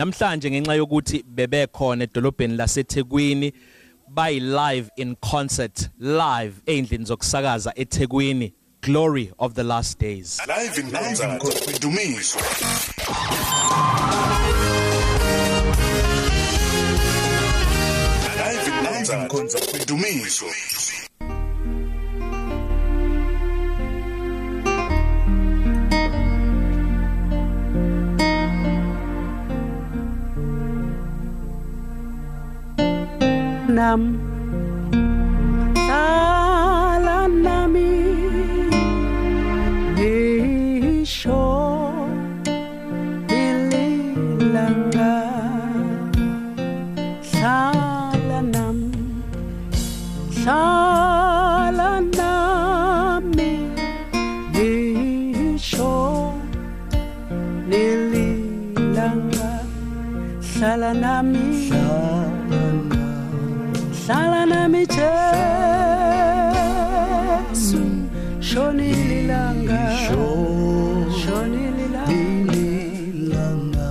Namhlanje ngenxa yokuthi bebekhona edolobheni laseThekwini by live in concert live endlini zokusakaza eThekwini Glory of the Last Days. live in concert dumiso live in concert dumiso nam hlala nami ngisho ililanga hlala nam hlala nami ngisho nililanga hlala nami hlala hlala nami Jesu shoni lilanga shoni lilanga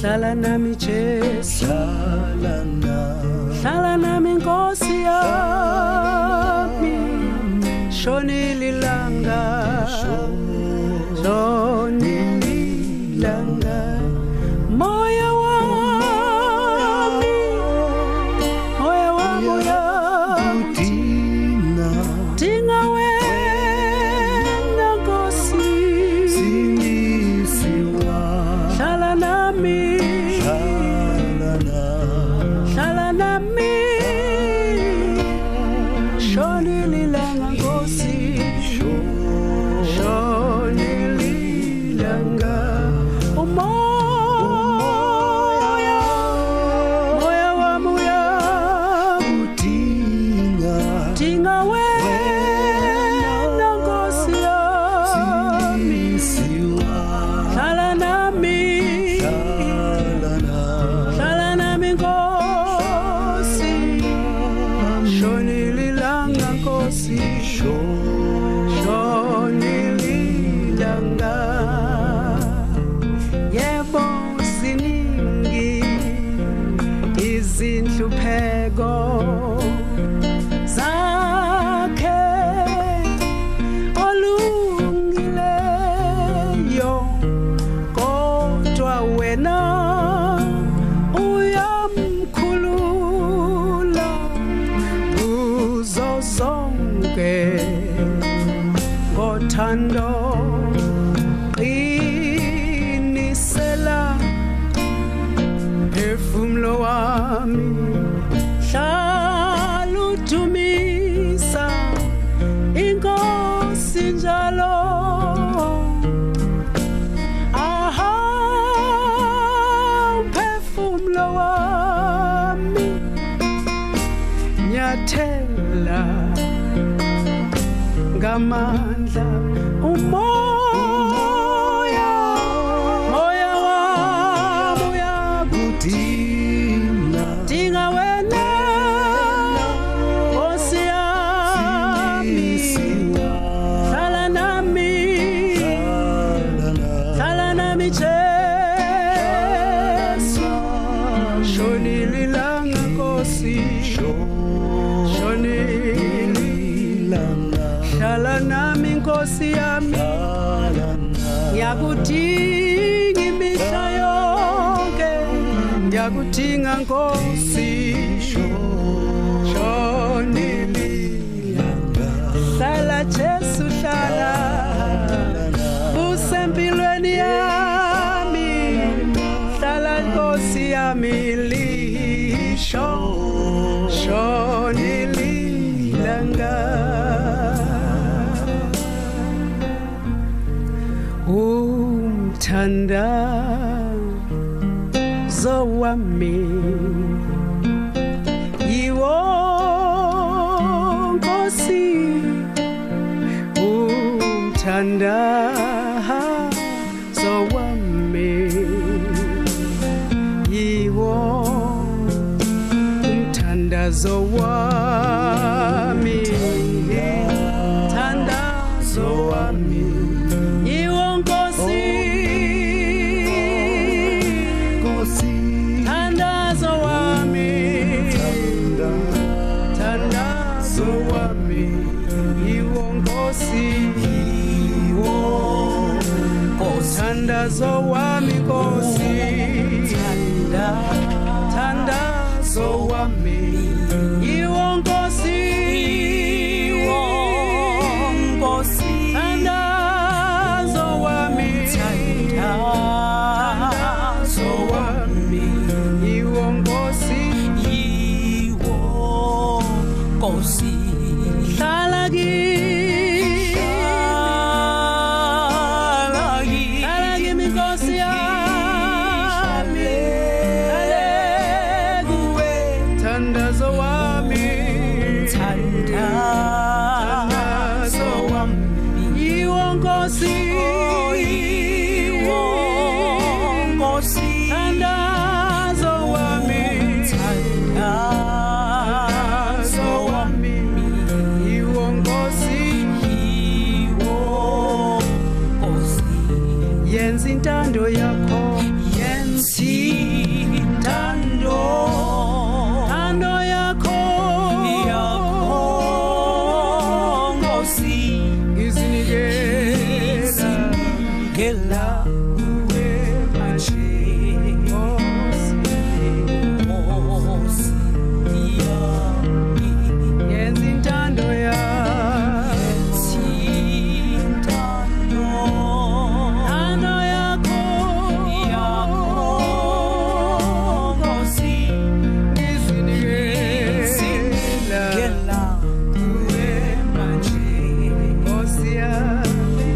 hlala nami Jesu hlala nami Nkosi yami shoni lilanga shoni lilanga moya wami moya wami uyami Dinga wena Nkosi hlala nami hlala nami shoni lilanga Nkosi shoni lilanga umoya moya wami uyami dinga wena Nkosi yami hlala nami hlala nami Nkosi shoni lilanga Nkosi shoni lilanga yebo ziningi izinhlupheko zakhe olungileyo kodwa wena uyamkhulula kuzo zonke ngothando qinisela phefumlo wami hlala udumisa inkosi njalo Aha umphefumlo wami nyathela ngamandla umoya moya wami uyakudinga wena Nkosi yami hlala nami hlala nami Jesu shoni lilanga Nkosi shoni hlala nami Nkosi yami ngiyakudinga imihla yonke ngiyakudinga Nkosi shoni lilanga hlala Jesu hlala usempilweni yami hlala nkosi yami lisho shoni lilanga Um, umthanda zowami yiwo nkosi umthandazo wami yiwo umthandazo wami umthandazo wami yiwo nkosi nkosi zowami yiwo nkosi yiwo thandazo wami nkosi thandazo wami yiwo nkosi thandazo wami thandazo wami yiwo nkosi hlala kimi Hlala kimi nkosi yami hlale kuwe thandazo wami thandazo wami yiwo nkosi Oh, thandazo wami thandazo wami yiwo nkosi yenza intando yakho yenza intando Ando yakho izinikela kuwe manje Nkosi. yenza intando yakho ando yakho izinikela kuwe manje Nkosi yami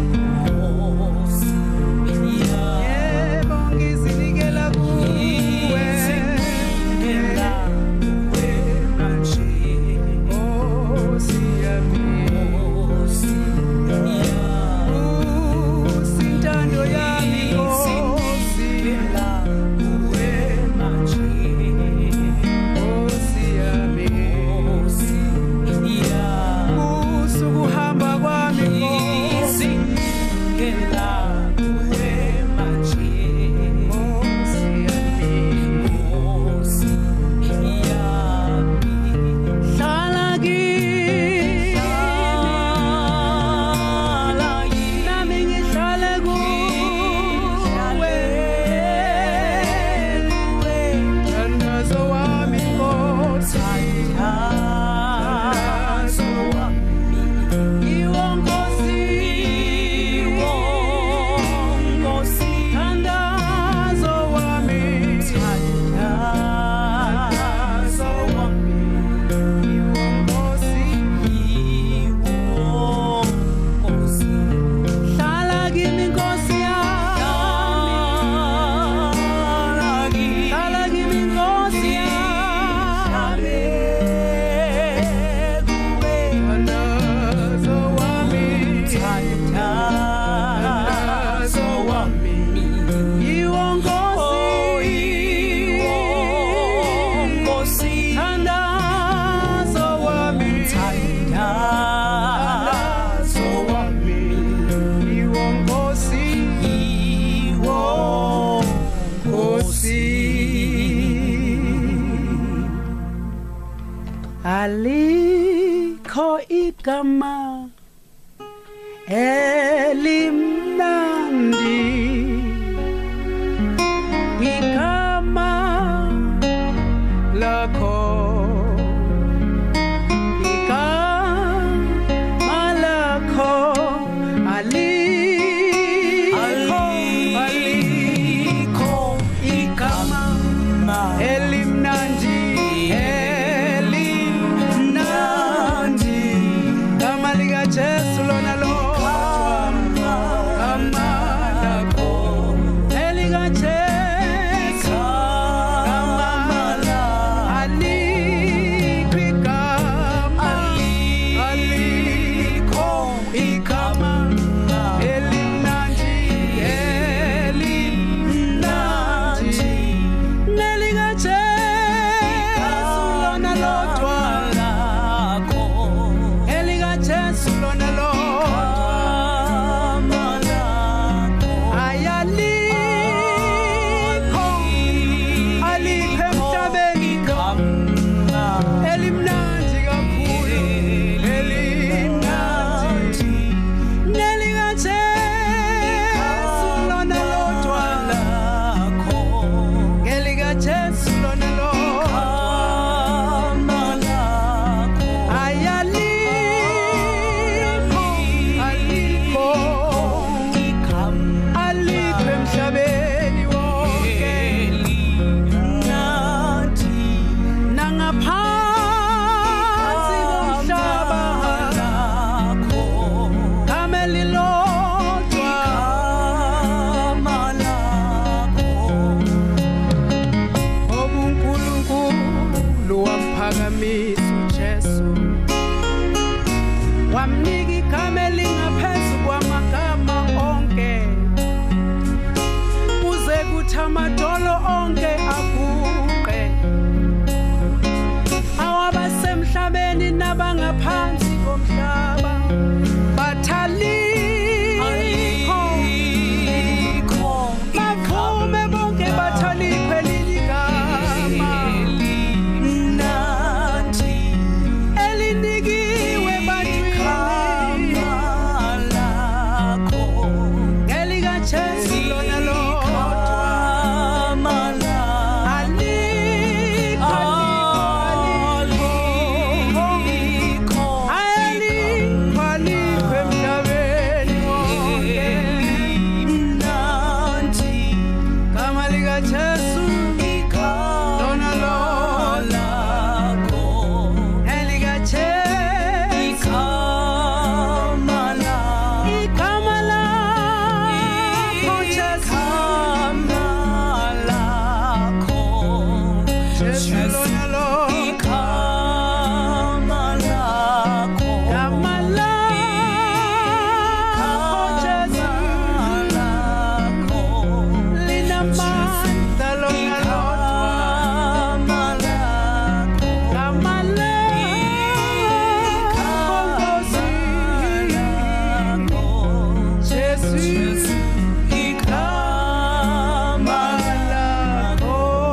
yebo ngizinikela kuwe kuwe manje Nkosi yami Usintando yami Nkosi kuwe manje Nkosi yami Usuku hamba kwami Nkosi kuwe manje Nkosi yami Hlala kimi Nami ngihlale kuwe Thandazo wami Nkosi Thandazo wami Yiwo Nkosi Thandazo wami Thandazo wami Yiwo Nkosi Hlala kimi Nkosi yami Hlala kimi Nkosi yami Thandazo wami Thandazo wami Yiwo Nkosi Thandazo wami Thandazo wami Yiwo Nkosi Nkosi alikho igama elimnandi igama lakho igama lakho alikho alikho igama elimnandi elimnandi gama likajesu lona lo uJesu lona lo ayalikho alikho alikho emhlabeni wonke nangaphansi komhlaba kamelilodwa obuNkulunkulu wamphakamisa uJesu wamnika igama elingaphezu kwamagama onke kuze kuthi amadolo onke aguqe awabasemhlabeni nabangaphansi komhlaba bathalikho bavume bonke bathalikho eliligama elinikiwe bantwini ngelikajesu lona lodwa alikho alikho alikho alikho alikho emhlabeni wonke gama likajesu lona lona elikajesu igama lakho jesu jesu lona lona gama lakho jesu linamandla lona lodwa gama lakho nkosi jesu igama lakho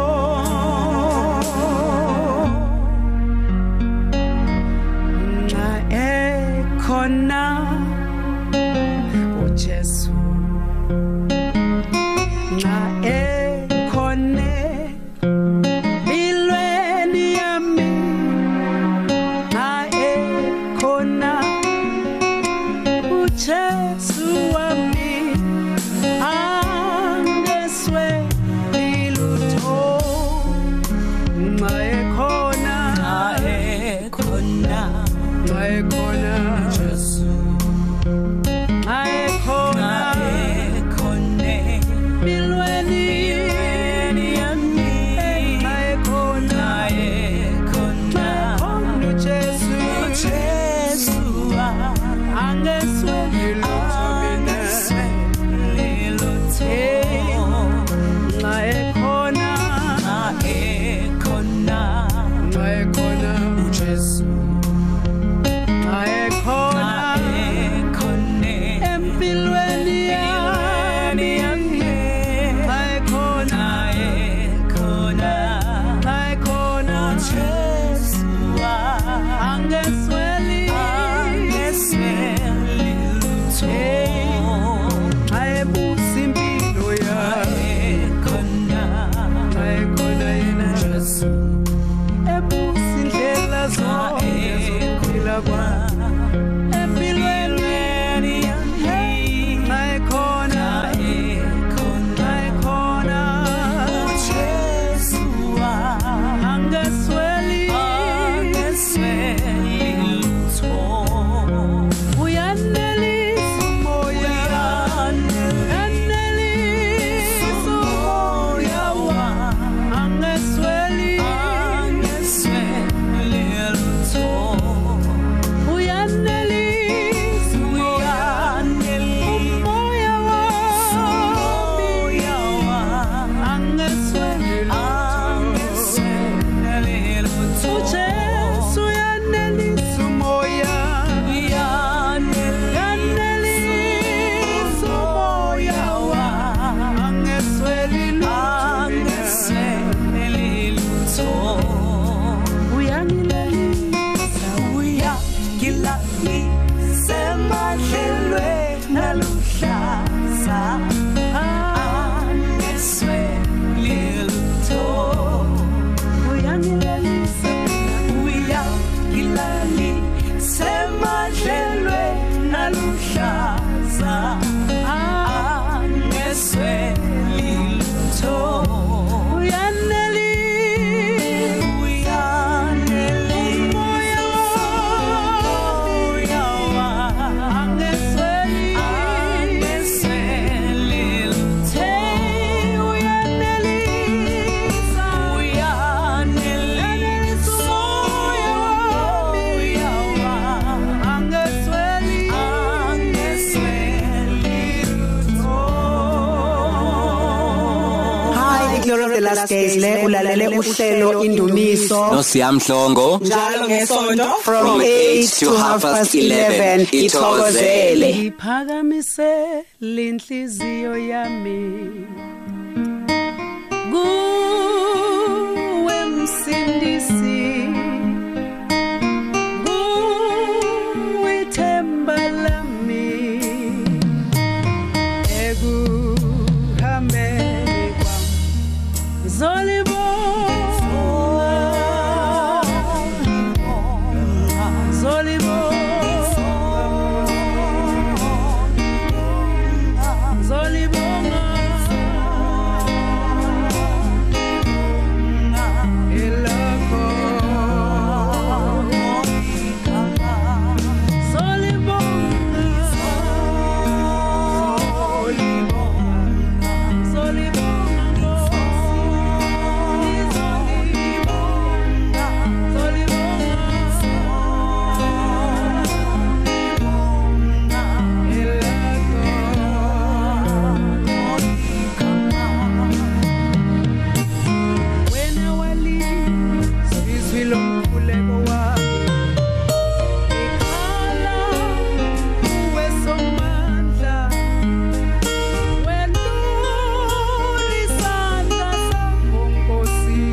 Thursdays le ulalele uhlelo indumiso nosiyamhlongo njalo ngesonto from From 8 to half past 11 ithokozele ngiphakamise linhliziyo yami kuwe msindisi kuwe ithemba lami ekuhambeni kwami ngizolibona ngizolibona ngizolibonga elakho ngizolibonga ngizolibonga ngizolibonga ngizolibonga wena walizwa izwi lomkhuleko wami ngikhala kuwe somandla wenduli isandla sakho nkosi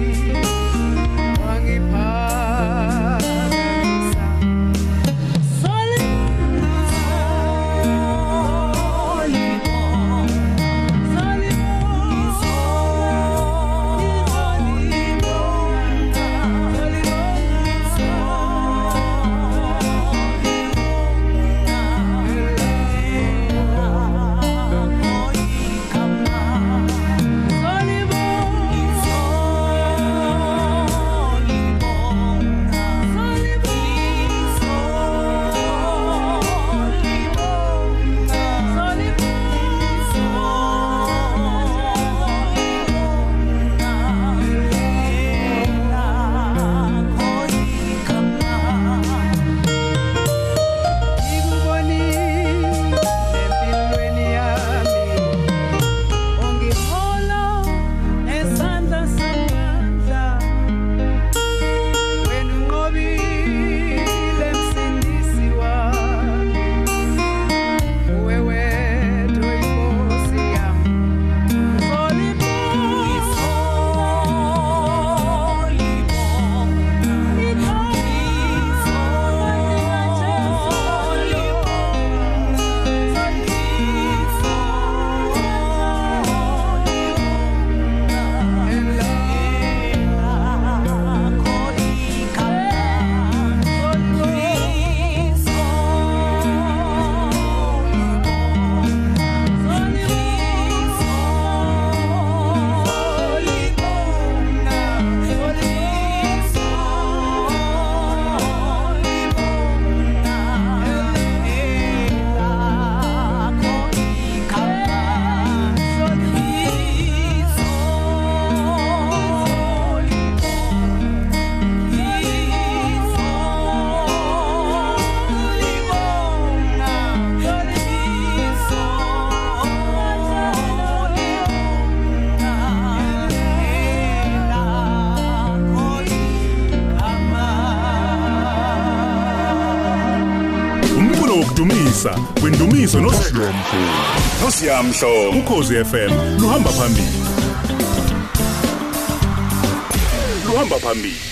wangiphakamisa solibona solibona umculo wokudumisa wendumiso nosidlomfu nosiyamhlobo ukhozi fm luhamba phambili luhamba phambili